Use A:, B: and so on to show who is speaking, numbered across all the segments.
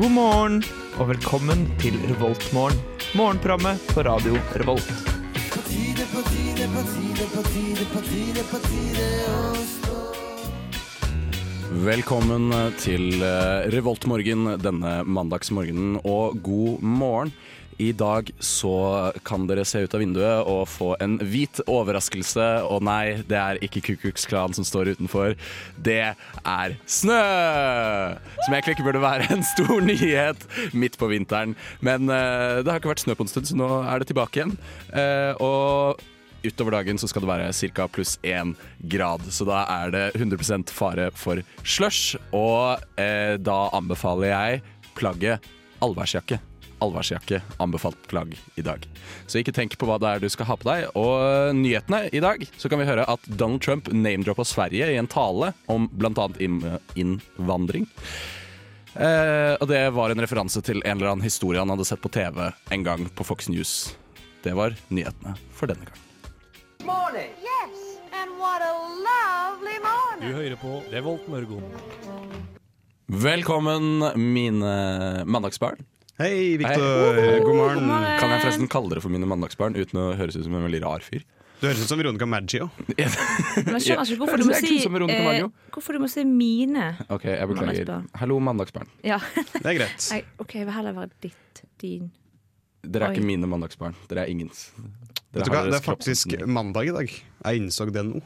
A: God morgen og velkommen til Revoltmorgen. Morgenprogrammet på radio Revolt.
B: Velkommen til eh, Revoltmorgen denne mandagsmorgenen, og god morgen. I dag så kan dere se ut av vinduet og få en hvit overraskelse. Og nei, det er ikke Ku Klux Klan som står utenfor. Det er snø! Som egentlig ikke burde være en stor nyhet midt på vinteren. Men eh, det har ikke vært snø på en stund, så nå er det tilbake igjen. Eh, og Utover dagen så skal det være ca. pluss én grad, så da er det 100 fare for slush. Og eh, da anbefaler jeg plagget allværsjakke. Allværsjakke anbefalt plagg i dag. Så ikke tenk på hva det er du skal ha på deg. Og eh, nyhetene i dag, så kan vi høre at Donald Trump name-droppa Sverige i en tale om bl.a. innvandring. Eh, og det var en referanse til en eller annen historie han hadde sett på TV en gang på Fox News. Det var nyhetene for denne gang.
C: morning.
D: Yes, and what a lovely morning.
E: Du hører på Revolt Mørgon.
B: Velkommen, mine mandagsbarn.
F: Hei,
B: Victor.
F: Victor. Eh, God morgen.
B: Kan jeg forresten kalle dere for mine mandagsbarn uten å høres ut som en veldig rar fyr?
F: Du høres ut som Veronica Maggio.
G: Men jeg skjønner ikke hvorfor
B: Det
G: du må
B: er
G: si
B: ikke som Veronica
G: eh,
B: Maggio.
G: Hvorfor du må si mine.
B: Ok, jeg beklager.
G: Mandagsbarn.
B: Hallo, mandagsbarn.
G: Ja.
F: Det er greit.
G: Nei, OK, jeg vil heller være ditt, din.
B: Dere er
G: Oi.
B: ikke mine mandagsbarn. Dere er ingens. Dere
F: Vet du hva,
B: har
F: Det
B: deres
F: er faktisk
B: kroppsåpning.
F: mandag i dag. Jeg innså det nå.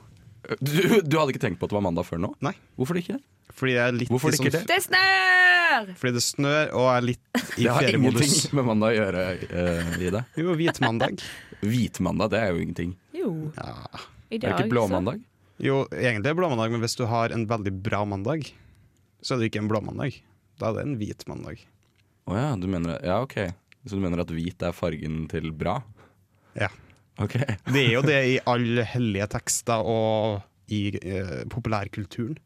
B: du, du hadde ikke tenkt på at det var mandag før nå?
F: Nei.
B: Hvorfor ikke?
F: Fordi jeg er litt
B: Hvorfor
F: i sånn-
B: ikke det?
G: Det snør!
F: Fordi det snør, og jeg er litt i
B: Det har ingenting
F: feriemodus.
B: med mandag å gjøre, eh, Ida.
F: Jo, hvit mandag.
B: Hvitmandag, det er jo ingenting.
G: Jo.
F: Ja.
G: I
B: Er
G: dag,
B: det ikke blåmandag?
F: Jo, egentlig er det blåmandag, men hvis du har en veldig bra mandag, så er det ikke en blåmandag. Da er det en hvit mandag.
B: Å ja, du mener Ja, OK. Så du mener at hvit er fargen til bra?
F: Ja.
B: OK.
F: Det er jo det i alle hellige tekster og i eh, populærkulturen.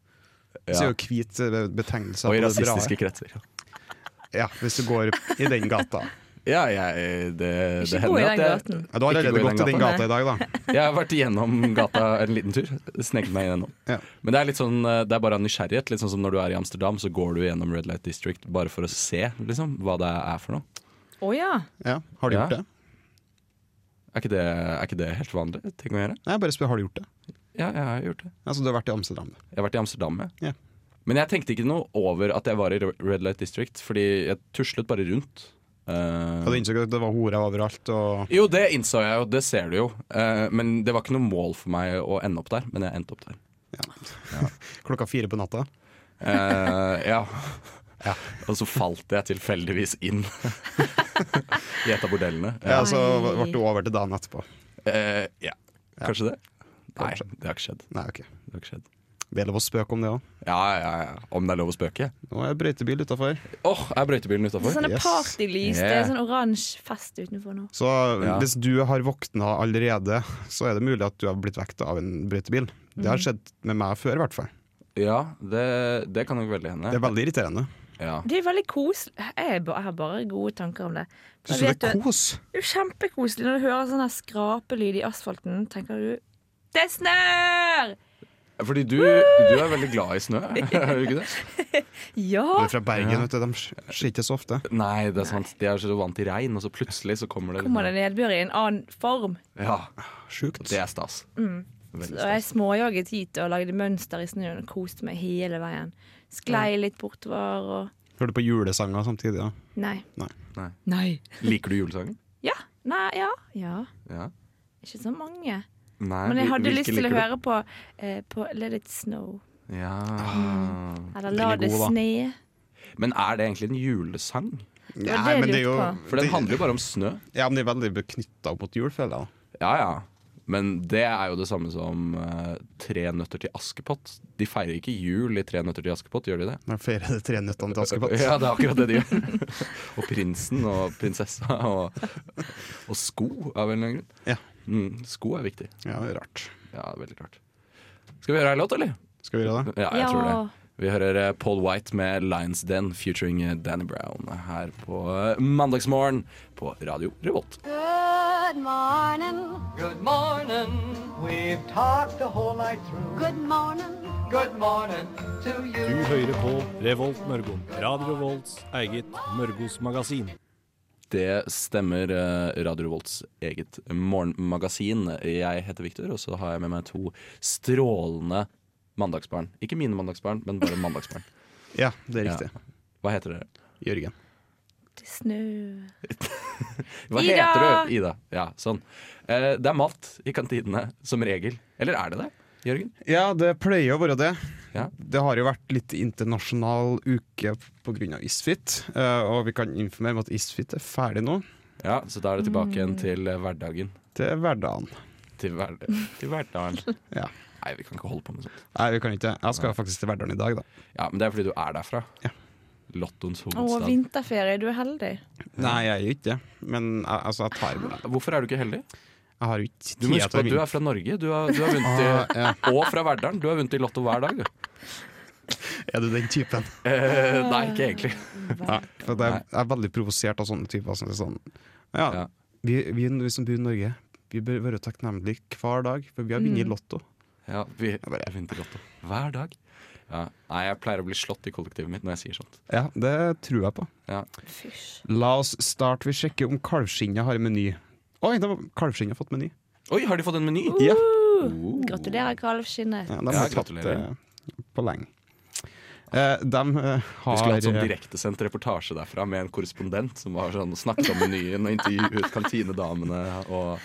F: Så
B: Ja.
F: er jo hvit eh, betegnelse
B: Og i
F: på det
B: rasistiske
F: bra.
B: kretser.
F: Ja, hvis du går i den gata.
B: Ja, jeg, det,
G: Så.
B: det
G: Ikke gå
B: hender
G: i
B: at
G: den
B: jeg,
G: gaten.
F: Ja, du har
B: Ikke gå i
F: allerede
B: den
F: gått i den
G: gata.
F: gata i dag, da.
B: jeg har vært igjennom gata en liten tur. Sneket meg gjennom.
F: Ja.
B: Men det er litt sånn, det er bare av nysgjerrighet. Litt sånn som når du er i Amsterdam, så går du gjennom Red Light District bare for å se liksom, hva det er for noe.
G: Å ja.
F: Ja, Har du
B: Ja.
F: gjort det?
B: Er ikke det, er ikke det helt vanlig ting å gjøre?
F: Nei, jeg bare spør, har du gjort det?
B: Ja, jeg har gjort det.
F: Altså, du har vært i Amsterdam. du.
B: Jeg har vært i Amsterdam, jeg.
F: Ja.
B: Men jeg tenkte ikke noe over at jeg var i Red Light District, fordi jeg tuslet bare rundt. Eh,
F: Og du innså at det var horer overalt. Og...
B: jo, det innså jeg jo, det ser du jo. Eh, men det var ikke noe mål for meg å ende opp der, men jeg endte opp der.
F: Klokka fire på natta.
B: Eh, ja. Og så falt jeg tilfeldigvis inn i et av bordellene.
F: Ja,
B: Ja.
F: Så
G: Oi.
F: ble du over til dagen etterpå.
B: Eh, ja. Kanskje det? Nei,
F: Kanskje.
B: det har ikke skjedd.
F: Nei, ok.
B: Det har ikke skjedd.
F: Det er lov å spøke om det òg.
B: Ja, ja, ja. Om det er lov å spøke?
F: Nå er brøytebil utafor.
B: Åh, er brøytebilen
G: Det er
B: utafor?
G: sånne
F: Yes.
G: partylys. Det
B: Yeah.
G: er sånn oransje fest utenfor nå.
F: Så
B: Ja.
F: hvis du har våkna allerede, så er det mulig at du har blitt vekket av en brøytebil. Det
G: Mm.
F: har skjedd med meg før, i hvert fall.
B: Ja, det, det kan nok veldig
F: Det
B: hende.
F: er veldig irriterende.
B: Ja.
G: Det er veldig koselig. Jeg, er ba- jeg har bare gode tanker om det.
F: Syns
G: Men
F: du
G: vet
F: det er
G: du,
F: kos?
G: det er jo kjempekoselig når du hører sånn her skrapelyd i asfalten. Tenker du Det snør!
B: Fordi du, du er veldig glad i snø, er du ikke det?
F: Du
G: Ja!
F: er fra Bergen, vet du. De sk- skjer ikke så ofte.
B: Nei, det er sant. De er så vant til regn, og så plutselig så kommer det
G: Kommer det nedbør i en annen form?
B: Ja,
F: Sjukt.
B: det er stas.
G: Mm. Og jeg småjogget hit og lagde mønster i snøen og koste meg hele veien. Sklei litt bortover og
F: Hører du på julesanger samtidig? Ja.
G: Nei.
F: Nei.
B: Nei.
G: Nei.
B: Liker du julesangen?
G: Ja. Nei, ja. ja.
B: Ja.
G: Ikke så mange.
B: Nei,
G: Men jeg
B: hvil-
G: hadde
B: hvilke
G: lyst til
B: liker
G: å
B: du?
G: høre på, eh, på Let it snow. Mm.
B: Ja.
G: Eller La
F: Den er
G: det
F: god, da.
G: sne.
B: Men er det egentlig en julesang?
G: var
F: Nei,
G: det jeg
F: men det er jo
G: lurte på.
B: For den
F: det-
B: handler jo bare om snø.
F: Ja, men de er veldig knytta opp mot jul, føler jeg.
B: Ja, ja. Men det er jo det samme som eh, Tre nøtter til Askepott. De feirer ikke jul i Tre nøtter til Askepott, gjør de det?
F: Når jeg feirer de tre nøttene til Askepott.
B: Ja, det er akkurat det de gjør. og prinsen og prinsessa og, og sko av en eller annen grunn.
F: Ja.
B: Mm, sko er viktig.
F: Ja, det er rart.
B: Ja, veldig klart. Skal vi høre ei låt, eller?
F: Skal vi gjøre det?
B: Ja, jeg
G: Ja.
B: tror det. Vi hører eh, Paul White med Lions Den featuring eh, Danny Brown her på eh, mandagsmorgen på Radio Revolt.
D: Good morning.
C: Good morning. We've talked the whole night through.
D: Good morning.
C: Du hører på Revolt Mørgo. Radio Revolts eget Mørgos magasin.
B: Det stemmer. eh, Radio Revolts eget morgenmagasin. Jeg heter Victor, og så har jeg med meg to strålende mandagsbarn. Ikke mine mandagsbarn, men bare mandagsbarn.
F: Ja, det er riktig.
B: Hva heter dere?
F: Jørgen.
G: Det snør
B: Hva
G: Ida!
B: heter du? Ida. Ja, sånn. Eh, Det er mat i kantinene, som regel. Eller er det det, Jørgen?
F: Ja, det pleier å være det.
B: Ja.
F: Det har jo vært litt internasjonal uke pga. Isfit, eh, og vi kan informere om at Isfit er ferdig nå.
B: Ja, Så da er det tilbake
G: Mm.
B: igjen til eh, hverdagen.
F: Det er hverdagen.
B: Til, hver, til hverdagen.
F: Ja.
B: Nei, vi kan ikke holde på med sånt.
F: Nei, vi kan ikke. Jeg skal faktisk til Verdalen i dag, da.
B: Ja, Men det er fordi du er derfra. Lottoens
G: Å,
B: hovedstad.
G: vinterferie. Du er heldig.
F: Nei, jeg er jo ikke det. Men jeg- altså, jeg tar jo det.
B: Hvorfor er du ikke heldig?
F: Jeg har jo ikke
B: Du må huske på
F: tid til å
B: at du
F: vinne. Ah,
B: er fra Norge. Du har, du har vunnet i, Og fra Verdalen. Du har vunnet i Lotto hver dag, du.
F: Er du den typen?
B: Eh, nei, ikke egentlig.
F: Nei, for det er, jeg er veldig provosert av sånne typer. Som er sånn, ja,
B: Ja.
F: Vi, vi, vi som bor i Norge, vi bør være takknemlige hver dag, for vi har vunnet i Lotto.
B: Ja, vi har vunnet i Lotto hver dag. Ja. Nei, jeg pleier å bli slått i kollektivet mitt når jeg sier sånt.
F: Ja, det tror jeg på.
B: Ja.
G: Fysj.
F: La oss starte ved å sjekke om kalvskinnet har meny. Oi, da var- kalvskinnet har fått meny.
B: Oi, har de fått en meny?
F: Ja.
B: Oh.
G: Gratulerer, kalvskinnet.
F: Ja, de
B: Ja,
F: har tatt
B: gratulerer.
F: det på lenge. Eh, de eh,
B: Vi
F: har
B: skulle hatt sånn direktesendt reportasje derfra med en korrespondent som var sånn, snakket om menyen og intervjuet kantinedamene. Og,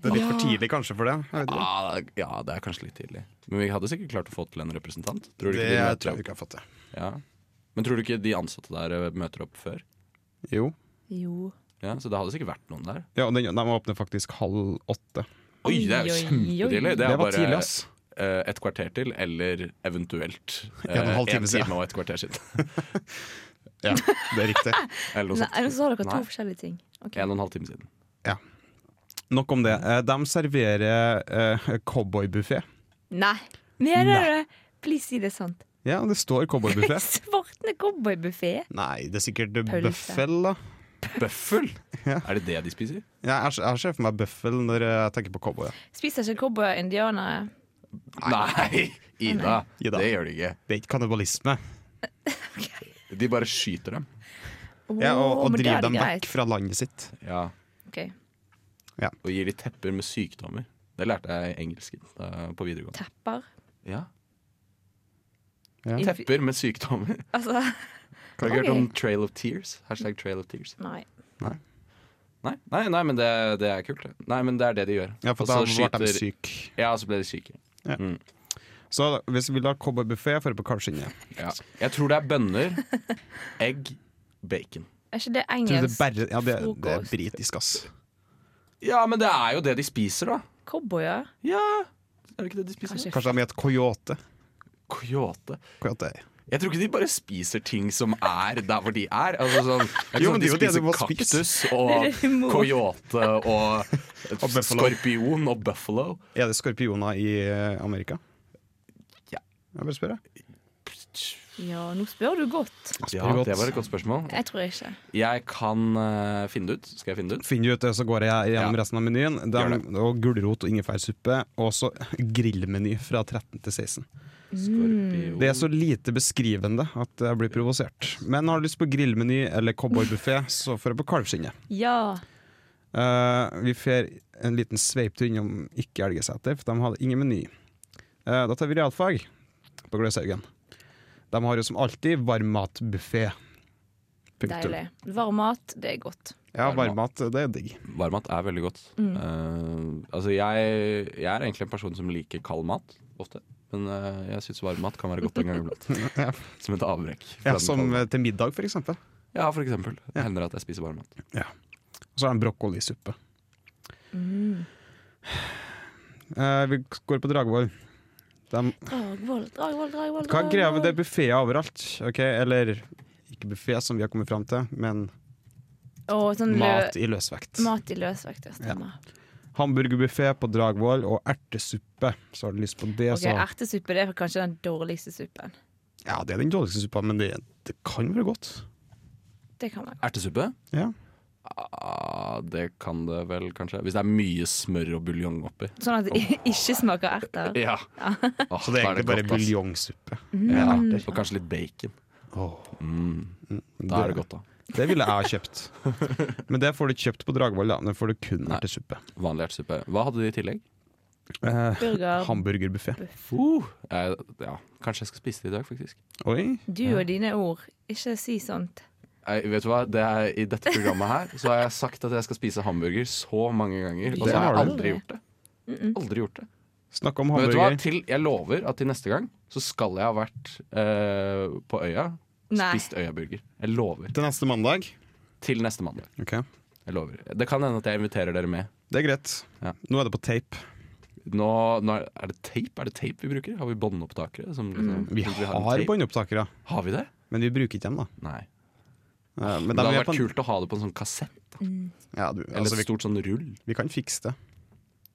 F: Det er litt for tidlig kanskje for det. Jeg vet ikke.
B: ah, ja, det er kanskje litt tidlig. Men vi hadde sikkert klart å få til en representant. Tror du
F: Det
B: ikke de
F: tror jeg
B: møter
F: vi
B: opp?
F: ikke har fått til.
B: Ja. Men tror du ikke de ansatte der eh, møter opp før?
F: Jo.
G: Jo.
B: Ja, Så det hadde sikkert vært noen der.
F: Ja, og den, de åpner faktisk halv åtte.
B: Oi, det er jo
G: Oi, oi,
B: kjempetidlig.
G: oi.
B: Det
F: Det,
B: er
F: var
B: bare
F: tidlig, ass.
B: eh, et kvarter til, eller eventuelt eh,
F: En og en halv time
B: en
F: siden.
B: time og et kvarter siden.
F: Ja, det er riktig.
B: Eller noe
G: Nei,
B: sånt.
G: så har dere to
B: Nei.
G: forskjellige ting. Ok.
B: En og en halv time siden.
F: Nok om det. Eh, De serverer eh, cowboybuffé.
G: Nei. Mener du det? Please si det er sant.
F: Ja, det står cowboybuffé.
G: Svartne cowboybuffé.
F: Nei, det er sikkert
G: Pølse.
F: bøffel, da.
B: Bøffel!
F: Ja.
B: Er det det de spiser?
F: Ja, jeg, jeg ser for meg bøffel når jeg tenker på cowboy. ja.
G: Spiser ikke cowboy-indianere.
B: Nei! Ida,
F: Ida.
B: det gjør de ikke.
F: Det er ikke kannibalisme.
B: De bare skyter dem.
G: Å,
F: Ja, og, og
G: men da
F: drive
G: er det
F: dem
G: greit.
F: vekk fra landet sitt.
B: Ja.
G: Ok.
B: Og gir de tepper med sykdommer. Det lærte jeg i engelsken eh, på videregående.
G: Tepper.
B: Ja.
F: Ja.
G: Infi-
B: Tepper med sykdommer.
G: Altså,
B: Har du ikke hørt
G: Ok.
B: om Trail of Tears? Hashtag Trail of Tears.
G: nei.
B: Nei, nei, nei men det, det er kult. det. Nei, men det er det de gjør.
F: Ja, for
B: Og så
F: da ble de
B: skyter-
F: syke.
B: Ja, så ble de syke.
F: Så hvis du vil ha cowboybuffé, får du på kalvskinnet.
B: Ja. Jeg tror det er bønner, egg, bacon.
G: Er
F: Tror
G: ikke det
F: du Det, er
G: engelsk
F: bare- ja, det, det er
G: Frokost.
F: britisk, ass.
B: Ja, men det er jo det de spiser, da.
G: cowboyer?
B: Ja, Er det ikke det de spiser?
G: Kanskje.
F: Kanskje de heter coyote.
B: Coyote.
F: coyote.
B: Jeg tror ikke de bare spiser ting som er der hvor de er. Altså, sånn, det er ikke
F: Jo,
B: sånn
F: men
B: at de
F: det er jo det
B: spiser
F: du må
B: kaktus
G: Det er det de
B: og
G: må.
B: coyote og,
F: buffalo.
B: skorpion og buffalo.
F: Er det skorpioner i eh, Amerika?
B: Ja.
F: Jeg bare spør, jeg.
G: Ja, nå spør du godt.
B: Ja,
F: godt.
B: det var et godt spørsmål.
G: Jeg tror ikke.
B: Jeg kan eh, finne det ut. Skal jeg finne det ut?
F: Finner du ut det, så går jeg gjennom
B: Ja.
F: resten av menyen. De,
B: Gjør
F: og gulrot og ingefærsuppe. Og så grillmeny fra 13 til 16.
G: Mm.
B: Skorpion
F: Det er så lite beskrivende at jeg blir provosert. Men har du lyst på grillmeny eller cowboybuffé, så får du på kalvskinnet.
G: Ja.
F: Eh, vi får en liten sveiptur innom ikke Elgeseter, for de hadde ingen meny. Eh, da tar vi realfag på Gløshaugen. De har jo som alltid varmmatbuffé. Punktum.
G: Deilig. Varm mat, det er godt.
F: Ja, varmmat, det er digg.
B: Varmmat er veldig godt. Eh, altså jeg, jeg er egentlig en person som liker kald mat ofte. Men eh, jeg syns varmmat kan være godt en gang iblant.
F: Ja.
B: Som et avbrekk. fra
F: Ja,
B: den
F: som
B: kalde-
F: eh, til middag, for eksempel.
B: ja, for eksempel. Det hender at jeg spiser varmmat.
F: Og så har de brokkolisuppe.
G: Mm.
F: Eh, vi går på Dragvoll. De,
G: Dragvoll, Dragvoll, Dragvoll.
F: hva er greia med det
G: Dragvoll.
F: er buffeer overalt? Ok, Eller ikke buffé, som vi har kommet fram til, men
G: Og sånn
F: mat
G: mat.
F: i løsvekt.
G: mat i løsvekt, ja. Stemmer.
F: Hamburgerbuffé på Dragvoll og ertesuppe. Så har du lyst på det,
G: Ok,
F: så
G: Ertesuppe det er kanskje den dårligste suppen.
F: Ja, det er den dårligste suppa, men det, det kan være godt.
G: Det kan man.
B: Ertesuppe?
F: Ja.
B: Ah, Ja, det kan det vel kanskje. Hvis det er mye smør og buljong oppi.
G: Sånn at det ikke smaker
F: Eh,
G: erter.
B: Ja. Mm. Åh,
F: Så det er
B: da
F: egentlig bare
B: godt, ass.
F: buljongsuppe.
B: Ja. Og kanskje litt bacon. Mm, Da er det godt, da.
F: Det ville jeg ha kjøpt. Men det får du ikke kjøpt på Dragvoll, da. Det får du kun her til suppe.
B: Vanlig ertesuppe. Hva hadde du i tillegg?
F: Eh,
G: Burger.
F: Hamburgerbuffé.
B: Uh, jeg, ja, kanskje jeg skal spise det i dag, faktisk.
F: Oi.
G: Du og dine ord. Ikke si sånt.
B: Jeg, vet du hva? Det er, I dette programmet her Så har jeg sagt at jeg skal spise hamburger så mange ganger, og
F: Det
B: så har jeg
F: har du.
B: aldri gjort det. Aldri gjort det.
F: Snakk om
B: Men vet du hva?
F: hamburger.
B: Til, jeg lover at til neste gang så skal jeg ha vært eh, på øya.
G: Nei.
B: Spist øyaburger. Jeg lover.
F: Til neste mandag.
B: Til neste mandag.
F: Ok.
B: Jeg lover. Det kan hende at jeg inviterer dere med.
F: Det er greit.
B: Ja.
F: Nå er det på tape.
B: Nå, nå er, er det tape? Er det tape vi bruker? Har vi båndopptakere? som liksom-
F: Mm. Vi
B: som en
F: har
B: tape?
F: båndopptakere,
B: Har vi det?
F: men vi bruker ikke dem, da.
B: Nei.
F: Eh, Men
B: Men
F: dem
B: det
F: er
B: hadde
F: på
B: vært
F: en-
B: kult å ha det på en sånn kassett.
F: Ja, du,
B: Eller
F: altså,
B: et
F: vi,
B: stort sånn rull.
F: vi kan fikse det.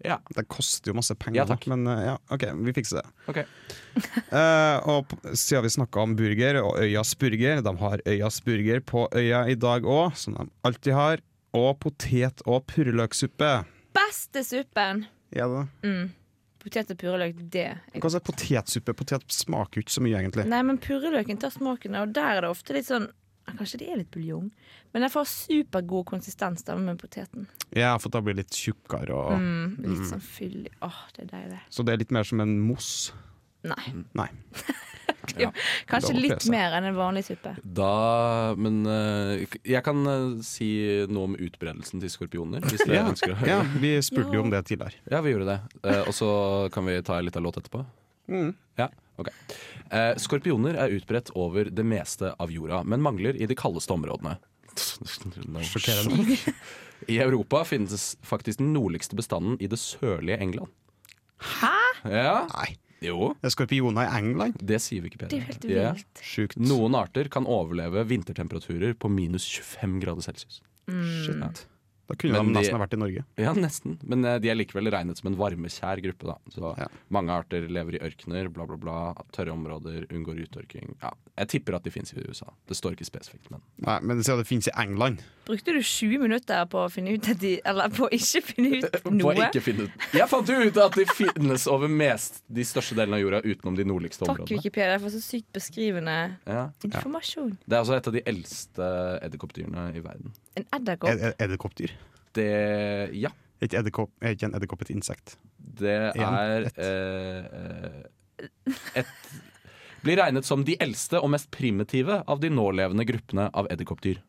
B: Ja,
F: Det koster jo masse penger,
B: Ja,
F: da,
B: takk.
F: men eh, ja, OK, vi fikser det.
B: ok.
F: Eh, og p- siden vi snakka om burger og Øyas burger, de har Øyas burger på øya i dag òg, som de alltid har. Og potet- og purreløksuppe.
G: Beste suppen!
F: Ja, da.
G: Potet og purreløk, det. er
F: Hva er potetsuppe? Potet smaker jo ikke så mye, egentlig.
G: Nei, men purreløken tar smaken, og der er det ofte litt sånn ja, Kanskje det er litt buljong, men den får supergod konsistens da med poteten.
F: Ja, for da blir det litt tjukkere. Og,
G: Mm, litt sånn fyldig. Åh, det er deilig.
F: Så det er litt mer som en mos.
G: Nei.
F: Nei.
G: Jo, kanskje
F: Da må
G: litt
F: pese.
G: mer enn en vanlig suppe.
B: Da Men eh, jeg kan eh, si noe om utbredelsen til skorpioner, hvis dere
F: Ja,
B: ønsker å høre.
F: ja, vi spurte jo om det tidligere.
B: Ja, vi gjorde det. Eh, og så kan vi ta en liten låt etterpå.
F: Mm.
B: Ja, ok. Eh, skorpioner er utbredt over det meste av jorda, men mangler i de kaldeste områdene. I Europa finnes faktisk den nordligste bestanden i det sørlige England. Hæ?! Ja.
F: Nei.
B: Jo,
F: Det er skorpioner i England.
B: det sier vi ikke,
G: Det er jo helt vilt.
B: Ja.
F: Sjukt.
B: Noen arter kan overleve vintertemperaturer på minus 25 grader celsius.
F: Shit.
B: Ja.
F: Da kunne
B: Men
F: de
B: de-
F: nesten ha vært i Norge.
B: Ja, nesten. Men eh, de er likevel regnet som en varmekjær gruppe. Da. Så
F: Ja.
B: Mange arter lever i ørkener, bla, bla, bla. Tørre områder, unngår uttørking. Ja, jeg tipper at de fins i USA. Det står ikke spesifikt, men
F: Nei, Men siden det finnes i England
G: Brukte du 20 minutter på å finne ut at de Eller på å ikke finne ut
B: Får
G: noe?
B: jeg ikke finne ut Jeg fant jo ut at de finnes over mest de største delene av jorda utenom de nordligste
G: Takk,
B: områdene.
G: Wikipedia, for så sykt beskrivende
B: Ja.
G: informasjon.
B: Det er altså et av de eldste edderkoppdyrene i verden.
G: En edderkopp.
F: Er er edderkoppdyr.
B: Det Ja.
F: Er ikke, edderkopp, er ikke en edderkopp et insekt?
B: Det
F: En,
B: er eh, eh, et Blir regnet som de eldste og mest primitive av de nålevende gruppene av edderkoppdyr.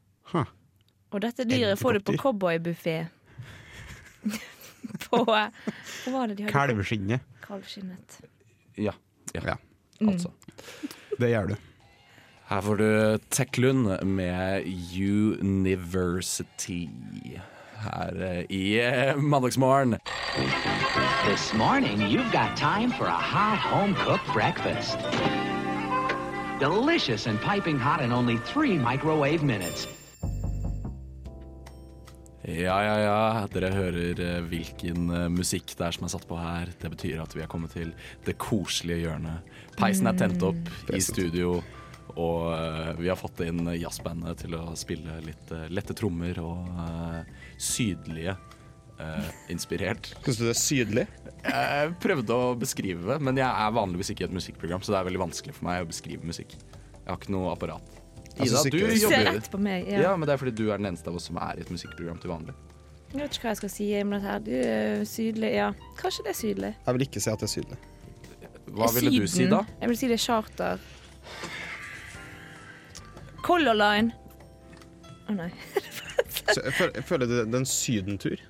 G: Og dette dyret får du på
F: Edderkoppdyr.
G: cowboybuffé. på Hva var det de hadde?
F: Kalveskinnet.
G: Kalvskinnet.
B: Ja. ja.
F: Ja.
B: Altså.
F: Det gjør du.
B: Her får du Teklund med University her eh, i eh, Mandagsmorgen.
E: This morning, you've got time for a hot home cooked breakfast. Delicious and piping hot in only three microwave minutes.
B: Ja, ja, ja. Dere hører eh, hvilken eh, musikk det er som er satt på her. Det betyr at vi er kommet til det koselige hjørnet. Peisen er tent opp i studio, og eh, vi har fått inn jazzbandet til å spille litt eh, lette trommer og eh, sydlige eh, inspirert.
F: Syns du det er sydlig?
B: Jeg prøvde å beskrive det, men jeg er vanligvis ikke i et musikkprogram, så det er veldig vanskelig for meg å beskrive musikk. Jeg har ikke noe apparat.
F: Jeg
B: Ida,
F: synes ikke
B: du
F: det-
G: Se
B: jobber
G: rett på meg. Ja.
B: Ja, men det er fordi du er den eneste av oss som er i et musikkprogram til vanlig.
G: Jeg vet ikke hva jeg skal si om dette her. Det er sydlig, ja. Kanskje det er sydlig.
F: Jeg vil ikke si at det er sydlig.
B: Hva ville du si
G: Syden.
B: da?
G: Jeg vil si det er charter. Color Line. Å nei.
F: Så jeg føler, jeg føler det, det er en sydentur.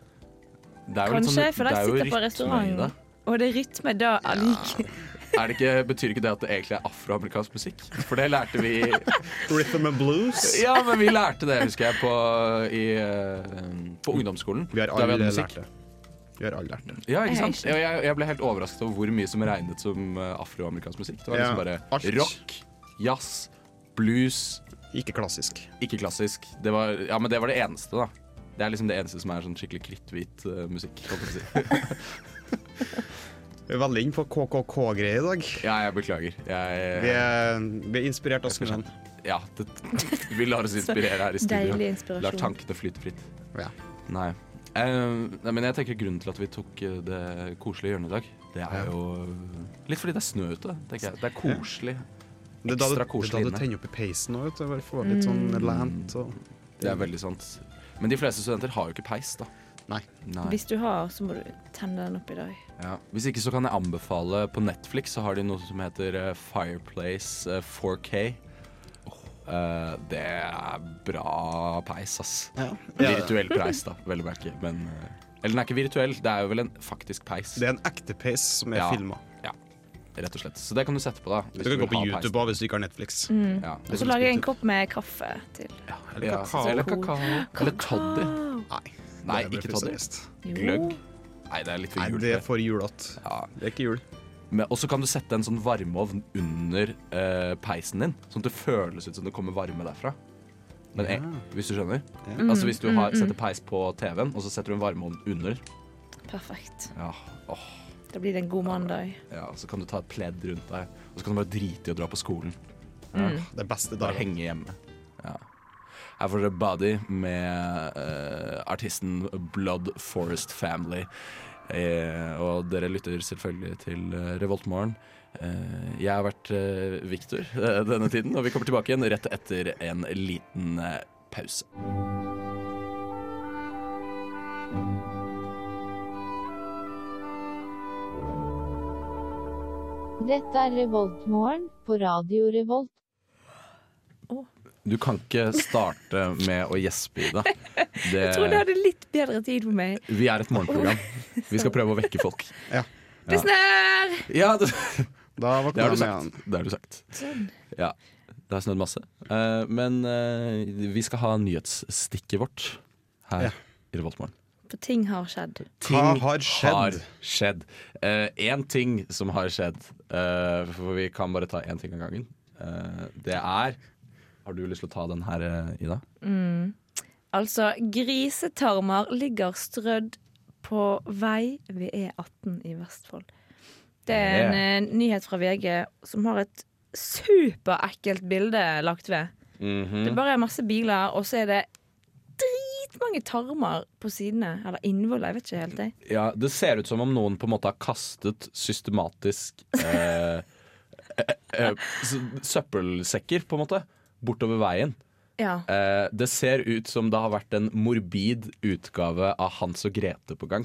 B: Det er jo litt
G: Kanskje,
B: sånn-
G: for
B: det
G: de
B: er jo
G: sitter på
B: rytme i det.
G: restaurant. Og det er rytme da allikevel.
B: Er det ikke, betyr ikke det at det egentlig er afroamerikansk musikk? For det lærte vi
F: Rhythm and blues.
B: Ja, men vi lærte det, husker jeg, på, i, eh, på ungdomsskolen.
F: Vi har
B: Da
F: alle
B: hadde musikk.
F: lært det. Vi har alle lært det.
B: Ja, ikke
G: Jeg har
B: sant?
G: ikke
B: Jeg, jeg, jeg ble helt overrasket over hvor mye som regnet som eh, afroamerikansk musikk. Det var
F: Ja,
B: liksom bare
F: alt.
B: rock, jazz, blues,
F: Ikke klassisk.
B: ikke klassisk. Det var, ja, men det var det eneste, da. Det er liksom det eneste som er sånn skikkelig kritthvit eh, musikk. holdt jeg på å Si.
F: Vi er veldig inne på KKK-greier i dag.
B: Ja, jeg beklager.
F: Vi
B: Jeg, eh,
F: er, vi er inspirert av snøen.
B: ja, det, vi lar oss inspirere her i studio.
G: Deilig inspirasjon.
B: Lar tankene flyte fritt.
F: Ja.
B: Nei. Eh, nei, men jeg tenker grunnen til at vi tok eh, det koselige hjørnet i dag, det er jo eh, litt fordi det er snø ute. tenker jeg. Det er koselig.
F: Det er da du-
B: Ekstra koselig
F: Det er da
B: inne.
F: du tenner opp i peisen òg, vet du. Bare få litt sånn
G: Mm.
F: lent og
B: Det er veldig sant. Men de fleste studenter har jo ikke peis, da.
F: Nei.
G: Hvis du har, så må du tenne den opp i dag.
B: Ja. Hvis ikke så kan jeg anbefale på Netflix så har de noe som heter eh, Fireplace eh, 4K. Eh, det er bra peis, ass. Virtuell peis, da. Vel å merke. Men eh, Eller den er ikke virtuell, det er jo vel en faktisk peis.
F: Det er en ekte peis som er
B: Ja.
F: filma.
B: Ja, rett og slett. Så det kan du sette på, da.
F: Du
B: hvis
F: kan
B: vil
F: gå på
B: ha
F: YouTube
B: peisen.
F: også hvis du ikke har Netflix.
B: Ja.
G: Og så lager jeg en kopp med kaffe til.
F: Eller
B: Ja,
F: kakao.
B: Eller kakao. Eller toddy.
F: Nei,
B: Nei,
F: det blir
B: ikke
F: for
B: toddy.
F: seriøst.
G: Jo.
B: Gløgg. Nei, det er litt
F: Nei,
B: for jul.
F: det er for julete.
B: Ja.
F: Det er ikke jul.
B: Men- Og så kan du sette en sånn varmeovn under eh, peisen din, sånn at det føles ut som det kommer varme derfra. Men eh, hvis du skjønner? Altså hvis du har, setter peis på TV-en, og så setter du en varmeovn under,
G: Perfekt.
B: ja, åh,
G: Da blir det en god mandag.
B: ja, så kan du ta et pledd rundt deg, og så kan du bare drite i å dra på skolen.
G: Mm.
F: Det er beste
B: Bare
F: dagen.
B: henge hjemme. Ja. Her får dere Body med eh, artisten Blood Forest Family. Eh, og dere lytter selvfølgelig til eh, Revoltmorgen. Eh, jeg har vært eh, Victor eh, denne tiden, og vi kommer tilbake igjen rett etter en liten eh, pause.
H: Dette er Revoltmorgen på Radio Revolt.
B: Du kan ikke starte med å gjespe, Ida.
G: Jeg trodde jeg hadde litt bedre tid på meg.
B: Vi er et morgenprogram. Vi skal prøve å vekke folk.
G: Det snør!
B: Ja, det,
F: Da
B: det
F: våkner
B: har du
F: jeg med han.
B: sagt. Det har du sagt.
G: Sånn.
B: Ja, det har snødd masse. Eh, men eh, vi skal ha nyhetsstikket vårt her
F: Ja.
B: i Revoltmorgen.
G: For ting har skjedd.
F: Hva har skjedd?
B: Har skjedd. Eh, Én ting som har skjedd, eh, for vi kan bare ta én ting av gangen, Eh, det er Har du lyst til å ta den her, eh, Ida?
G: Altså, grisetarmer ligger strødd på vei ved E18 i Vestfold. Det er en eh, nyhet fra VG som har et superekkelt bilde lagt ved.
B: Mhm.
G: Det bare er masse biler, og så er det dritmange tarmer på sidene. Eller innvoller, jeg vet ikke helt. Jeg.
B: Ja, Det ser ut som om noen på en måte har kastet systematisk eh, eh, eh, s- søppelsekker, på en måte, bortover veien.
G: Ja.
B: Eh, det ser ut som det har vært en morbid utgave av Hans og Grete på gang.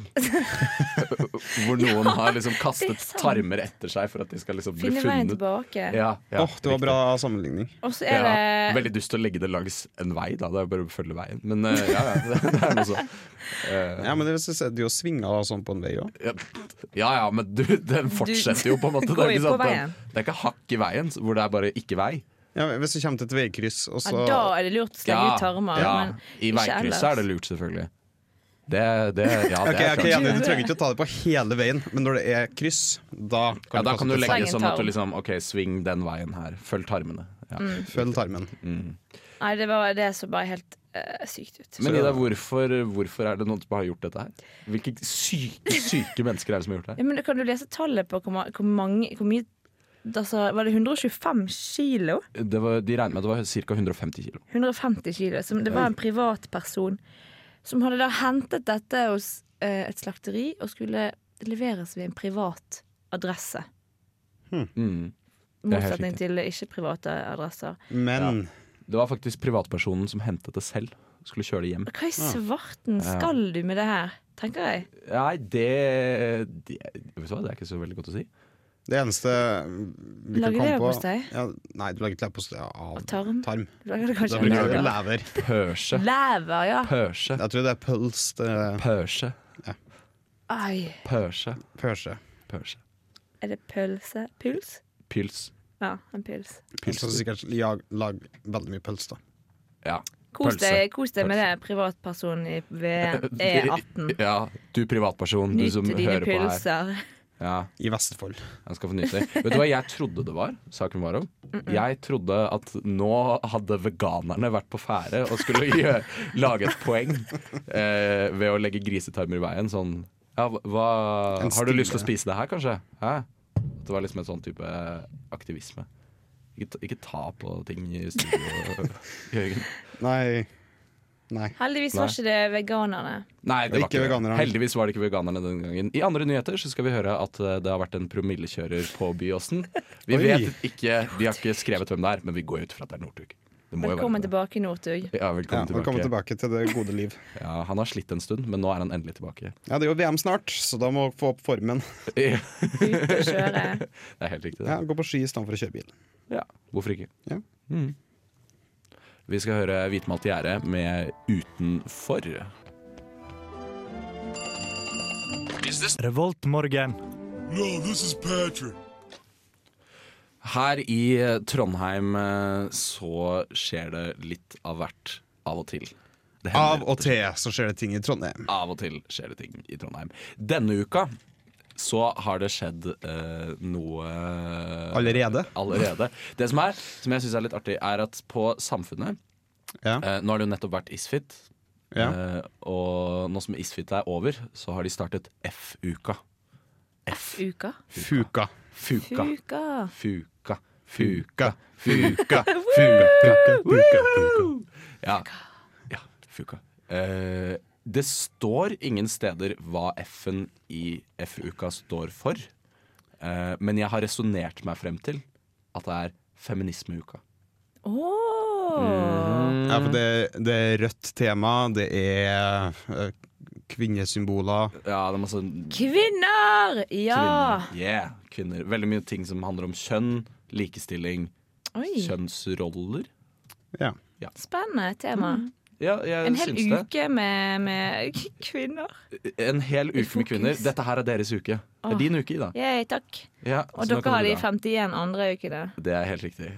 B: Hvor noen har liksom
G: det er
B: kastet
G: sant.
B: tarmer etter seg for at de skal liksom bli
G: Finne
B: funnet.
G: veien tilbake.
B: Ja,
F: Åh,
B: ja,
F: det
B: riktig.
F: var bra sammenligning.
G: Og så er
B: Ja,
G: det
B: veldig dust å legge det langs en vei, da. Det er jo bare å følge veien. Men eh, ja, ja, det, det er noe sånn.
F: Ja, men det synes jeg, Du svinga da sånn på en vei òg.
B: Ja, ja, ja, men du, den fortsetter jo på en måte. Det
G: Går
B: er,
G: jo
B: ikke
G: på
B: sant,
G: veien.
B: den, det er ikke hakk i veien hvor det er bare ikke vei.
F: Ja, men hvis du kommer til et veikryss, og så
G: ja, Da er det lurt å slenge ut tarmer.
B: ja,
G: Men
B: I
G: ikke
B: veikrysset
G: ellers.
B: er det lurt, selvfølgelig. Det, det, ja, det
F: Ok,
B: er
F: ok,
B: klart.
F: Jenny, Du trenger ikke å ta det på hele veien, men når det er kryss, da
B: Ja,
F: kan
B: da kan du
F: kaste
B: legge
G: Slangen
B: sånn at
G: tar
B: du
G: om.
B: liksom OK, sving den veien her. Følg tarmene. Ja.
F: til- Følg tarmen.
B: Mm.
G: Nei, det var det som bare helt eh, sykt ut.
B: Men Ida, hvorfor, hvorfor er det noen som har gjort dette her? Hvilke syke, syke mennesker er det som har gjort det her?
G: Ja, men kan du lese tallet på hvor, ma- hvor mange hvor mye, altså, Var det 125 kilo?
B: Det var, de regner med at det var ca. 150 kilo.
G: 150 kilo. Som, det var en privatperson som hadde da hentet dette hos eh, et slakteri og skulle leveres ved en privat adresse.
B: Mm. Det er helt
G: Motsetning
B: riktig.
G: til ikke-private adresser.
F: Men
B: Det var faktisk privatpersonen som hentet det selv. Skulle kjøre det hjem.
G: Hva i svarten skal du med det her, tenker jeg.
B: Nei, det, det Vet du hva, det er ikke så veldig godt å si.
F: det eneste vi
G: Lager
F: kan komme på
G: leverpostei?
F: Ja, nei, du lager ikke leverpostei av
G: Og tarm?
F: tarm.
G: Du lager det
F: Da
G: kanskje
F: bruker du
G: lever.
F: lever.
B: Pørse.
G: Lever, ja.
B: Pørse.
F: Jeg tror det er eh, puls, det er
B: Pørse.
G: Ai.
B: Pørse.
F: pørse.
B: Pørse.
G: Er det pølse? Puls?
B: Pils.
G: Ja, en pils.
F: Pils har sikkert jag, lag veldig mye puls, da.
B: Ja.
G: Kos deg,
B: Pølse.
G: kos deg med det, privatperson i E ved E18.
B: Ja, du privatperson, du
G: Nyt
B: som
G: dine
B: hører på her.
G: pølser.
B: Ja.
F: I Vestfold.
B: Han skal få nyte. Vet du hva jeg trodde det var? Saken var om Jeg trodde at nå hadde veganerne vært på ferde og skulle gjø- lage et poeng eh, ved å legge grisetarmer i veien. Sånn ja, hva,
F: En
B: Har du lyst til å
F: stille.
B: spise det her, kanskje? Hæ? At det var liksom en sånn type aktivisme. Ikke ta, ikke ta på ting i studio, Jørgen.
F: Nei, Nei.
G: Heldigvis
B: Nei.
G: var ikke det veganerne.
B: Nei, det var
F: Det er ikke altså.
B: ikke
F: veganerne.
B: det. Heldigvis var det ikke veganerne den gangen. I andre nyheter så skal vi høre at eh, det har vært en promillekjører på Byåsen. Vi
F: Oi.
B: vet ikke, De har ikke skrevet hvem det er, men vi går ut fra at det er Northug. Det må jo være
G: Velkommen
B: det.
G: tilbake, Northug.
B: Ja, velkommen
F: Ja,
B: tilbake.
F: Velkommen tilbake til det gode liv.
B: Ja, han har slitt en stund, men nå er han endelig tilbake.
F: Ja, Det er jo VM snart, så da må dere få opp formen.
B: Ja,
G: Ute og kjøre.
B: det er helt riktig.
F: Ja,
B: Det.
F: Gå på ski istedenfor å kjøre bil.
B: Ja. Hvorfor ikke?
F: Ja.
B: Mm. Vi skal høre Hvitmalt gjerde med 'Utenfor'.
C: Revoltmorgen.
B: Her i eh, Trondheim eh, så skjer det litt av hvert av og til. Det hender
F: Av og til så skjer det ting i Trondheim.
B: av og til skjer det ting i Trondheim. Denne uka så har det skjedd eh, noe
F: Allerede?
B: Allerede. Det som er, som jeg syns er litt artig, er at på Samfunnet
F: Ja.
B: eh, Nå har det jo nettopp vært Isfit.
F: Ja.
B: eh, og nå som Isfit er over, så har de startet F-uka.
G: Uka.
F: Fuka.
B: Fuka.
G: Uka.
B: Fuka. Fuka.
F: Fuka.
B: Ja. ja fuka. Eh, det står ingen steder hva F-en i F-uka står for. Eh, men jeg har resonnert meg frem til at det er feminismeuka. Mhm.
G: Åh.
F: Ja,
B: Mm.
F: for det, det er rødt tema, det er eh, kvinnesymboler.
B: Ja, det er masse
G: Kvinner! Ja!
B: kvinner. Yeah, kvinner. Veldig mye ting som handler om kjønn, likestilling,
G: Oi,
B: kjønnsroller.
F: Ja.
G: spennende tema.
B: Ja, jeg
G: En hel
B: Mhm. syns det.
G: uke med, med k- kvinner.
B: En hel uke med
G: fokus.
B: kvinner. Dette her er deres uke. Det
G: Åh.
B: er din uke, Ida.
G: Yay, takk.
B: Ja,
G: Og
B: så nå
G: dere
B: kan
G: har
B: du
G: de
B: dra.
G: 51 andre ukene.
B: Det er helt riktig.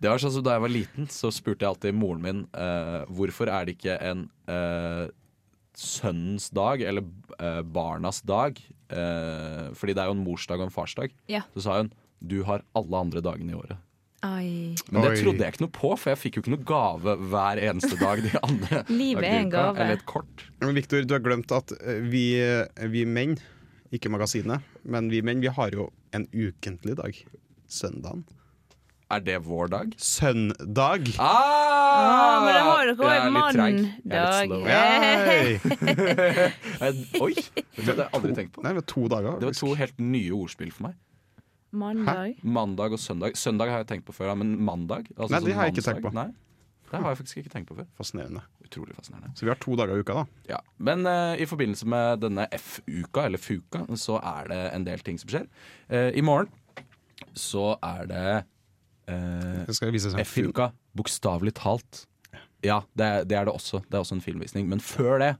B: Det var sånn som Da jeg var liten, så spurte jeg alltid moren min eh, hvorfor er det ikke en eh, sønnens dag eller eh, barnas dag. Eh, fordi det er jo en morsdag og en farsdag.
G: Ja.
B: Så sa hun du har alle andre dagene i året.
G: Ai.
B: Men det
F: Oi.
B: trodde jeg ikke noe på, for jeg fikk jo ikke noe gave hver eneste dag. De andre
G: Livet er
B: dagene i
G: en
B: uka,
G: gave.
B: Eller et kort.
F: Men Victor, du har glemt at eh, vi, vi menn, ikke magasinet, men vi menn, vi har jo en ukentlig dag. Søndagen.
B: Er det vår dag?
F: Søndag!
B: Ah,
G: Ah, men da har dere
B: Jeg er
G: en
B: litt treig.
G: mandag.
B: Jeg er litt slow.
G: Ja.
F: Hei!
B: Jeg- Oi! Det hadde jeg aldri tenkt på.
F: Nei, det var to dager.
B: Det var to helt nye ordspill for meg.
G: Mandag.
B: Mandag og søndag. Søndag har jeg tenkt på før, ja, men mandag altså
F: Nei, det
B: sånn
F: har jeg ikke
B: mannsdag?
F: tenkt på.
B: Nei, det har jeg faktisk ikke tenkt på før.
F: Fascinerende.
B: Utrolig fascinerende.
F: Så vi har to dager i uka, da.
B: Ja. Men eh, i forbindelse med denne F-uka, eller FUKA, så er det en del ting som skjer. Eh, I morgen så er det eh,
F: Jeg skal vise oss en film.
B: F-uka, bokstavelig talt. Ja, det, er- det er det også. Det er også en filmvisning. Men før det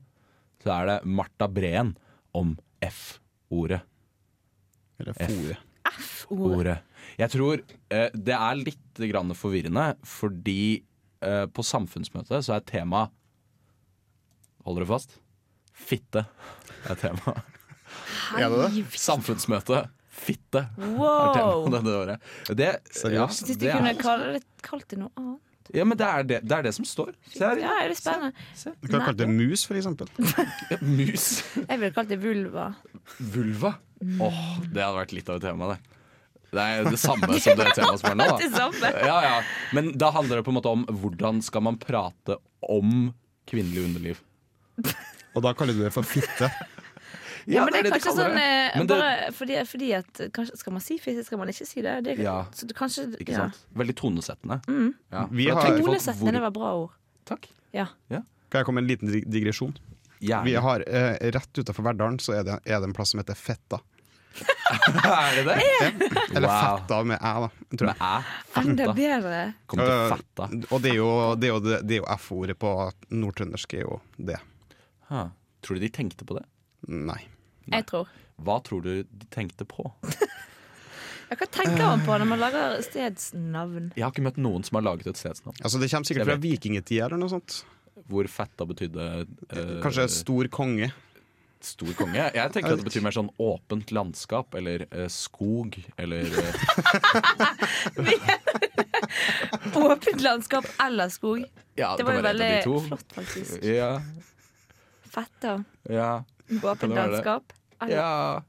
B: så er det Marta Breen om F-ordet.
F: Eller fore.
B: ordet. Jeg tror eh, det er litt grann forvirrende, fordi eh, på samfunnsmøtet så er tema Holder du fast? Fitte er tema.
F: Er det det?
B: Samfunnsmøte. Fitte er tema
G: Wow!
B: denne året. Det,
F: Seriøst?
G: Hvis du
B: det
G: kunne
B: er,
G: kalle det, kalt det noe annet.
B: ja, men det er det, det er det som står. Se her.
G: Ja, er det spennende?
F: Du kan kalle det mus, for eksempel.
B: Ja, Mus.
G: Jeg ville kalt det vulva.
B: Vulva.
G: Mm.
B: Åh, det hadde vært litt av et tema, det. Det er det samme som det temaet som er nå. da.
G: Det samme.
B: Ja, ja. Men da handler det på en måte om hvordan skal man prate om kvinnelig underliv.
F: Og da kaller du det for fitte.
G: Ja, men det er
B: de
G: kanskje
B: kaller
G: sånn eh,
B: Men det-
G: bare fordi, fordi at eh, kanskje, Skal man si fisse, skal man ikke si det? det
B: Ja.
G: Så du kanskje
B: Ikke
G: ja. Mm.
B: sant? Veldig tonesettende. Ja. for
F: Vi
B: da tenker
F: har-
B: folk, hvor-
G: Tonesettende, det var bra ord.
B: Takk.
G: Ja.
F: Kan jeg komme med en liten dig- digresjon?
B: Gjerne.
F: Vi har eh, Rett utenfor Verdalen så er det, er det en plass som heter Fetta.
B: Er det det?
F: Eller
B: Wow.
F: Fetta med æ, da. Tror
B: Med
F: jeg.
B: æ.
G: Enda
B: Fatta.
G: bedre.
B: Kommer til
F: Eh,
B: fatta.
F: Og det er jo, det er jo, det- det er jo F-ordet på nordtrøndersk er jo det.
B: Ha. Tror du de tenkte på det?
F: Nei.
G: Jeg tror.
B: Hva tror du de tenkte på?
G: Ja, hva tenker man på når man lager stedsnavn?
B: Jeg har ikke møtt noen som har laget et stedsnavn
F: Altså Det kommer sikkert fra vikingtida eller noe sånt.
B: hvor fatta betydde eh,
F: Kanskje stor konge.
B: stor konge. Jeg tenker at det betyr mer sånn åpent landskap eller eh, skog eller eh,
G: Åpent landskap eller skog.
B: Ja,
G: Det var jo
B: kan være
G: veldig
B: et av de to.
G: flott, faktisk.
B: Ja,
G: Fetta.
B: ja, det
G: Åpent
B: være det?
G: landskap. Eller
B: ja.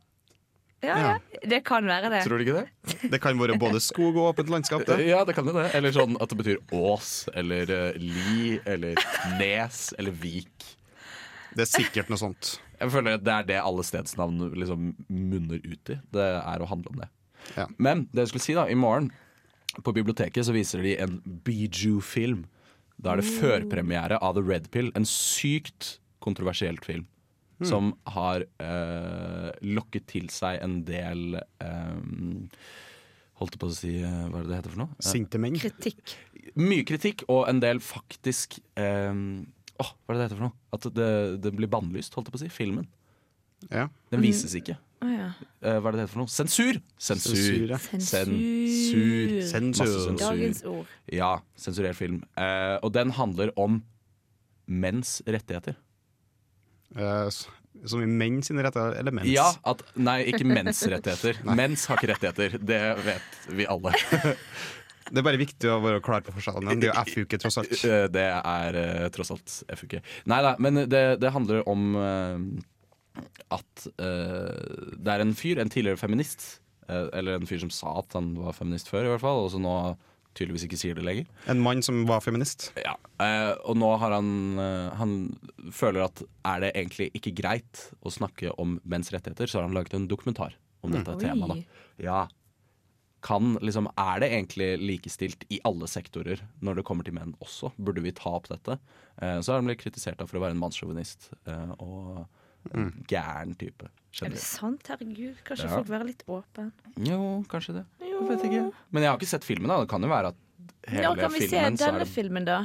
G: Ja, ja. Det kan være det.
B: Tror du ikke det?
F: Det kan være både skog og åpent landskap. Det.
B: Eh, Ja, det kan jo det. Eller sånn at det betyr ås, eller eh, li, eller nes, eller vik.
F: det er sikkert noe sånt.
B: Jeg føler at det er det alle stedsnavn liksom munner ut i. Det er å handle om det.
F: Ja.
B: Men det jeg skulle si da, i morgen på biblioteket så viser de en Biju-film. Da er det førpremiere av The Red Pill. En sykt kontroversielt film. Som har eh, lokket til seg en del eh, Holdt jeg på å si eh, Hva er det det heter for noe? Eh,
F: Sintemeng.
G: Kritikk.
B: mye kritikk og en del faktisk eh, åh, Hva er det det heter for noe? At det, det blir bannlyst, holdt jeg på å si. Filmen.
F: Ja.
B: Den vises ikke.
G: Å ja.
B: Eh, hva er det det heter for noe? Sensur! Sensur.
F: Sensur, ja.
B: Sensur.
F: Sensur.
B: Masse sensur.
G: Dagens ord.
B: Ja, sensurert film. Eh, og den handler om menns rettigheter.
F: Eh, s- som i menn sine retter, eller mens.
B: Ja, at, Nei, ikke menns rettigheter. Mens har ikke rettigheter. Det vet vi alle.
F: Det er bare viktig å være klar på forskjellen. Det er jo F-uke, tross alt.
B: Eh, Det er eh, tross alt FUK. Nei da, men det, det handler om eh, at eh, det er en fyr, en tidligere feminist, eh, eller en fyr som sa at han var feminist før, i hvert fall, og som nå tydeligvis ikke sier det lenger.
F: En mann som var feminist.
B: Ja, eh, og nå har han eh, Han føler at er det egentlig ikke greit å snakke om menns rettigheter, så har han laget en dokumentar om dette
G: Mm. Oi.
B: temaet. da. Ja. Kan, liksom, er det egentlig likestilt i alle sektorer når det kommer til menn også? Burde vi ta opp dette? Eh, så har han blitt kritisert da, for å være en mannssjåvinist eh, og en gæren type.
G: Er det
B: generelt.
G: sant? Herregud, kanskje
B: Ja.
G: folk være litt åpen.
B: Jo, kanskje det. Jeg vet ikke. Men jeg har ikke sett filmen. da Det kan jo være at hele
G: Når kan vi se
B: filmen, så er
G: denne
B: det,
G: filmen, da?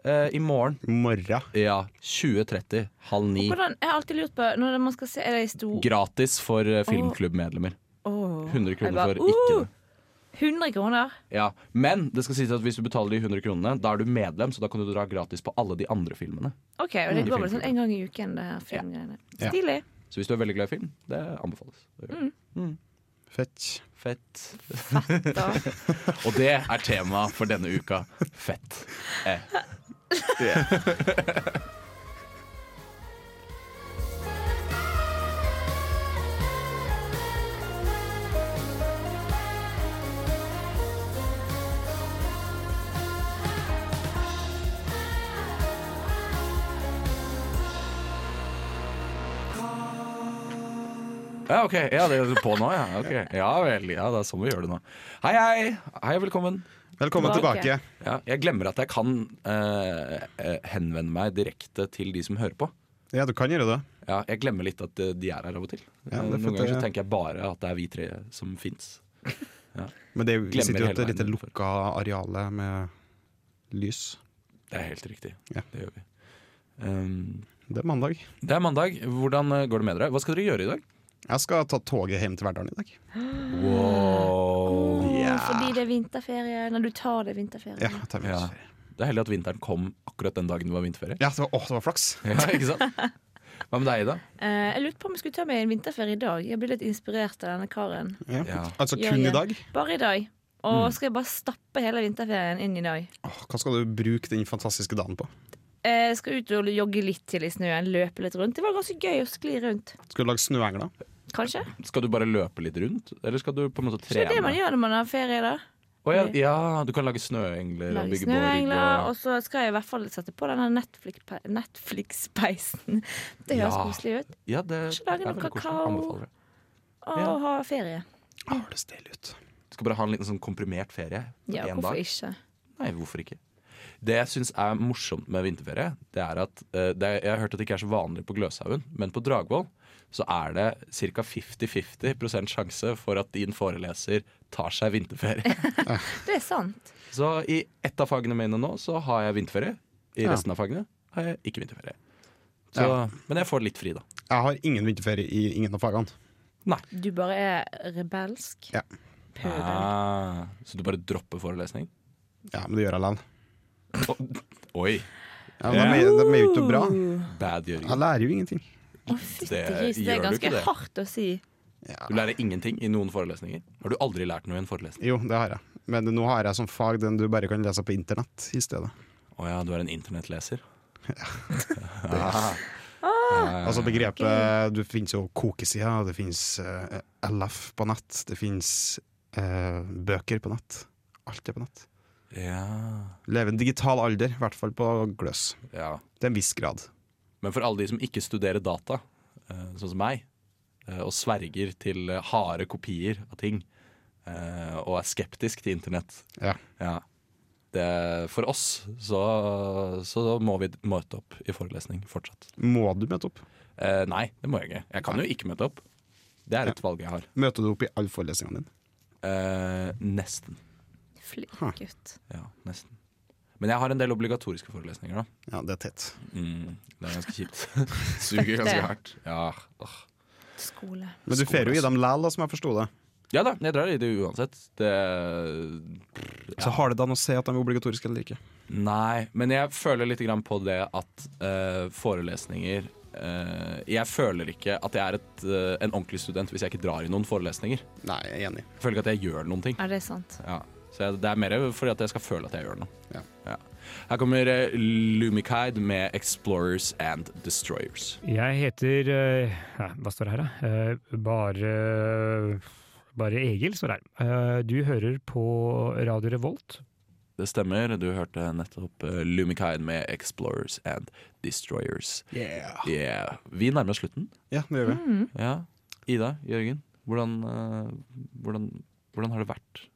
B: eh, I morgen.
F: Morra.
B: Ja. 20.30. Halv ni.
G: Hvordan, jeg har alltid lurt på når man skal se Er det i stor
B: Gratis for eh, filmklubbmedlemmer.
G: Åh.
B: 100
G: Jeg
B: kroner
G: bare,
B: for ikke
G: uh,
B: det.
G: 100 kroner?
B: Ja. Men det skal sies at hvis du betaler de 100 kronene, da er du medlem, så da kan du dra gratis på alle de andre filmene.
G: OK, og det
B: Mm.
G: går vel sånn en gang i uken, det her filmgreiene.
F: Ja.
G: Stilig.
B: Så hvis du er veldig glad i film, det anbefales. å
G: Mm.
B: gjøre.
F: Fett.
B: Fett.
G: Da.
B: Og det er tema for denne uka. Fett. Eh. Ja, ok. Ja, det er på nå, ja. Ok. Ja vel. Ja, det er sånn vi gjør det nå. Hei, hei. Hei, velkommen.
F: Velkommen
G: Tilbake.
F: tilbake.
B: Ja, jeg glemmer at jeg kan eh, eh, henvende meg direkte til de som hører på.
F: Ja, du kan gjøre det.
B: Ja, jeg glemmer litt at eh, de er her av og til. Eh,
F: Ja, det er
B: Noen
F: fint,
B: ganger
F: ja.
B: så tenker jeg bare at det er vi tre som fins.
F: Men det, er jo- vi
B: Glemmer
F: sitter jo i et
B: hele
F: lite
B: verden.
F: lukka areale med lys.
B: Det er helt riktig.
F: Ja.
B: Det gjør vi. Um,
F: Det er mandag.
B: det er mandag. Hvordan eh, går det med dere? Hva skal dere gjøre i dag?
F: Jeg skal ta toget hjem til Verdalen i dag.
B: Wow.
G: Åh, Fordi det er vinterferie. Når du tar det vinterferie.
F: Ja, jeg tar med
B: Ja.
F: oss.
B: Det er heldig at vinteren kom akkurat den dagen det var vinterferie.
F: ja det var, åh, det var flaks!
B: Ja, ikke sant? Hva med deg, Ida?
G: Eh, jeg lurte på om jeg skulle ta meg en vinterferie i dag. Jeg blir litt inspirert av denne karen.
F: Ja.
B: Ja.
F: Altså
G: Ja,
F: kun
G: ja.
F: i dag.
G: Bare i dag. Og
B: Mm.
G: skal jeg bare stappe hele vinterferien inn i dag?
F: Åh, hva skal du bruke den fantastiske dagen på?
G: Eh, Jeg skal ut og jogge litt til i snøen, løpe litt rundt. Det var ganske gøy å skli rundt.
F: Skal du lage snøengler?
G: Kanskje?
B: Skal du bare løpe litt rundt, eller skal du på en måte
G: Så det
B: trene?
G: er det man gjør når man har ferie, da.
B: Å ja, ja, du kan lage snøengler og
G: Lage
B: bygge borg.
G: snøengler.
B: og-
G: Og så skal jeg i hvert fall sette på denne Netflix- Netflix-peisen. Det høres
B: Ja.
G: koselig ut.
B: Ja, det
G: Kanskje lage
B: er
G: noe
B: veldig koselig.
G: kakao.
B: Anbefaler det.
G: Å
B: Ja.
G: ha ferie.
F: Ah, det stille ut.
B: Du skal bare ha en liten sånn komprimert ferie. på
G: Ja,
B: en
G: hvorfor
B: dag.
G: ikke?
B: Nei, hvorfor ikke? Det jeg syns er morsomt med vinterferie, det er at eh, det, Jeg har hørt at det ikke er så vanlig på Gløshaugen, men på Dragvoll så er det ca. 50-50 sjanse for at din foreleser tar seg vinterferie.
G: Det er sant.
B: så i ett av fagene mine nå så har jeg vinterferie. I
F: Ja.
B: resten av fagene har jeg ikke vinterferie. Så,
F: Ja.
B: Men jeg får litt fri, da.
F: Jeg har ingen vinterferie i ingen av fagene.
G: Du bare er rebelsk.
F: Ja.
G: Pøbel.
B: Ah, så du bare dropper forelesning?
F: Ja, Men det gjør jeg likevel.
B: Oi,
F: Ja, men de, er- de er jo ikke noe bra.
B: bad
F: Jeg
B: Jørgen.
F: lærer jo ingenting.
G: Å, fytti
B: Det
G: gris. Det
B: gjør
G: er
B: du ikke
G: ganske
B: det.
G: hardt å si.
B: Du lærer ingenting i noen forelesninger. Har du aldri lært noe i en forelesning?
F: Jo, det har jeg. Men nå har jeg som fag den du bare kan lese på internett i stedet.
B: Å ja, du er en internettleser? Ja. Ah. Ja,
F: Altså begrepet Du finnes jo kokesider, det finnes eh, LF på nett, det finnes eh, bøker på nett. Alt er på nett.
B: Ja.
F: Leve i en digital alder, i hvert fall på gløs.
B: ja.
F: Til en viss grad.
B: Men for alle de som ikke studerer data, eh, sånn som meg, eh, og sverger til eh, harde kopier av ting, eh, og er skeptisk til internett
F: Ja.
B: det, For oss så, så må vi møte opp i forelesning fortsatt.
F: Må du møte opp?
B: Eh, nei, det må jeg ikke. Jeg kan jo ikke møte opp. Det er et valg jeg har.
F: Møter du opp i alle forelesningene dine?
B: Eh, nesten.
G: Flink gutt.
B: Ja, nesten. Men jeg har en del obligatoriske forelesninger, da.
F: Ja, det er tett.
B: Mm, det er ganske kjipt. Suger
G: det.
B: ganske hardt. Ja, åh.
G: Skole.
F: Men du får jo i dem læl, da, som jeg forsto det.
B: ja da, jeg drar i det uansett. Det,
F: Så har det da noe å si at de er obligatoriske eller ikke?
B: nei, men jeg føler litt grann på det at eh, forelesninger eh, Jeg føler ikke at jeg er et, eh, en ordentlig student hvis jeg ikke drar i noen forelesninger.
F: Nei, jeg er enig.
B: Jeg føler ikke at jeg gjør noen ting.
G: Er det sant?
B: Ja. Så jeg, det er mer fordi at jeg skal føle at jeg gjør noe.
F: Ja.
B: Her kommer eh, Lumikide med 'Explorers and Destroyers'.
I: Jeg heter eh, ja, Hva står det her, da? Eh, Bare Bare Egil står det her. Eh, Du hører på Radio Revolt.
B: Det stemmer, du hørte nettopp eh, Lumikide med 'Explorers and Destroyers'. Yeah. Vi nærmer oss slutten.
F: Ja, det gjør vi.
B: Ja. Ida, Jørgen, hvordan, eh, hvordan, hvordan har det vært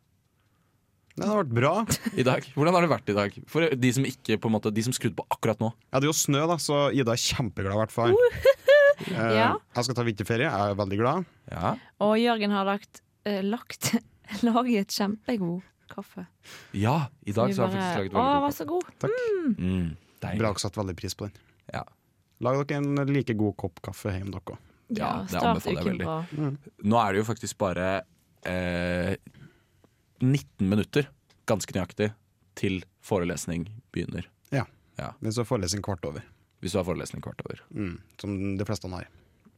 F: Nei, det har vært bra.
B: i dag? Hvordan har det vært i dag? For de som ikke på en måte, de som skrudde på akkurat nå.
F: Jeg hadde jo snø, da, så Ida er kjempeglad, i hvert fall. Eh,
G: Ja.
F: Jeg skal ta vinterferie, jeg er veldig glad.
B: Ja.
G: Og Jørgen har lagt, eh, lagt laget kjempegod kaffe.
B: ja I dag
G: Vi
B: så har jeg
G: bare-
B: faktisk laget
G: Å,
B: veldig
G: den var
B: god
G: så god.
B: kaffe. Mm, deilig.
F: Bra dere satte veldig pris på den.
B: Ja.
F: Lag dere en like god kopp kaffe hjemme, dere òg.
B: Ja, det
G: start
B: anbefaler jeg
G: uken
B: veldig. Eh,
G: bra.
B: Nå er det jo faktisk bare eh, 19 minutter, ganske nøyaktig, til forelesning begynner.
F: Men så forelesning kvart over,
B: Hvis du har forelesning kvart over.
F: mm. som de fleste har.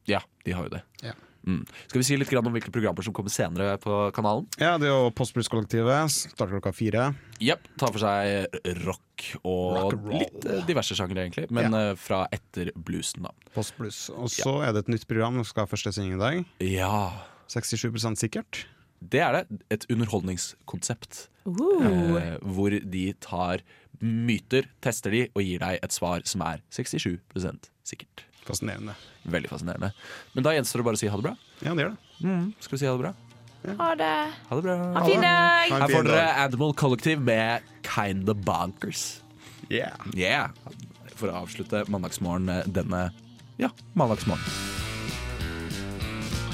B: Ja, de har jo det.
F: Ja.
B: Mm. Skal vi si litt grann om hvilke programmer som kommer senere på kanalen?
F: Ja, det er jo Postblues-kollektivet. Starter klokka fire.
B: Jepp. Tar for seg rock og
F: Rock and roll.
B: litt eh, diverse sjangere, egentlig. Men eh, fra etter bluesen, da.
F: Postblues. Og så er det et nytt program som skal ha første sending i dag.
B: Ja,
F: 67 sikkert.
B: det er det. Et underholdningskonsept.
G: Uh,
B: eh, hvor de tar myter, tester de og gir deg et svar som er 67 sikkert.
F: Fascinerende.
B: Veldig fascinerende. Men da gjenstår det bare å si ha det bra.
F: Ja, det gjør det.
B: Skal vi si ha det bra?
G: ha det.
B: Ha det bra.
G: Ha en fin dag!
F: Ha en
B: Her
F: fin
B: får dere
F: dag.
B: Animal Collective med Kinda Bonkers.
F: Yeah.
B: Yeah! For å avslutte mandagsmorgen med denne ja, mandagsmorgen.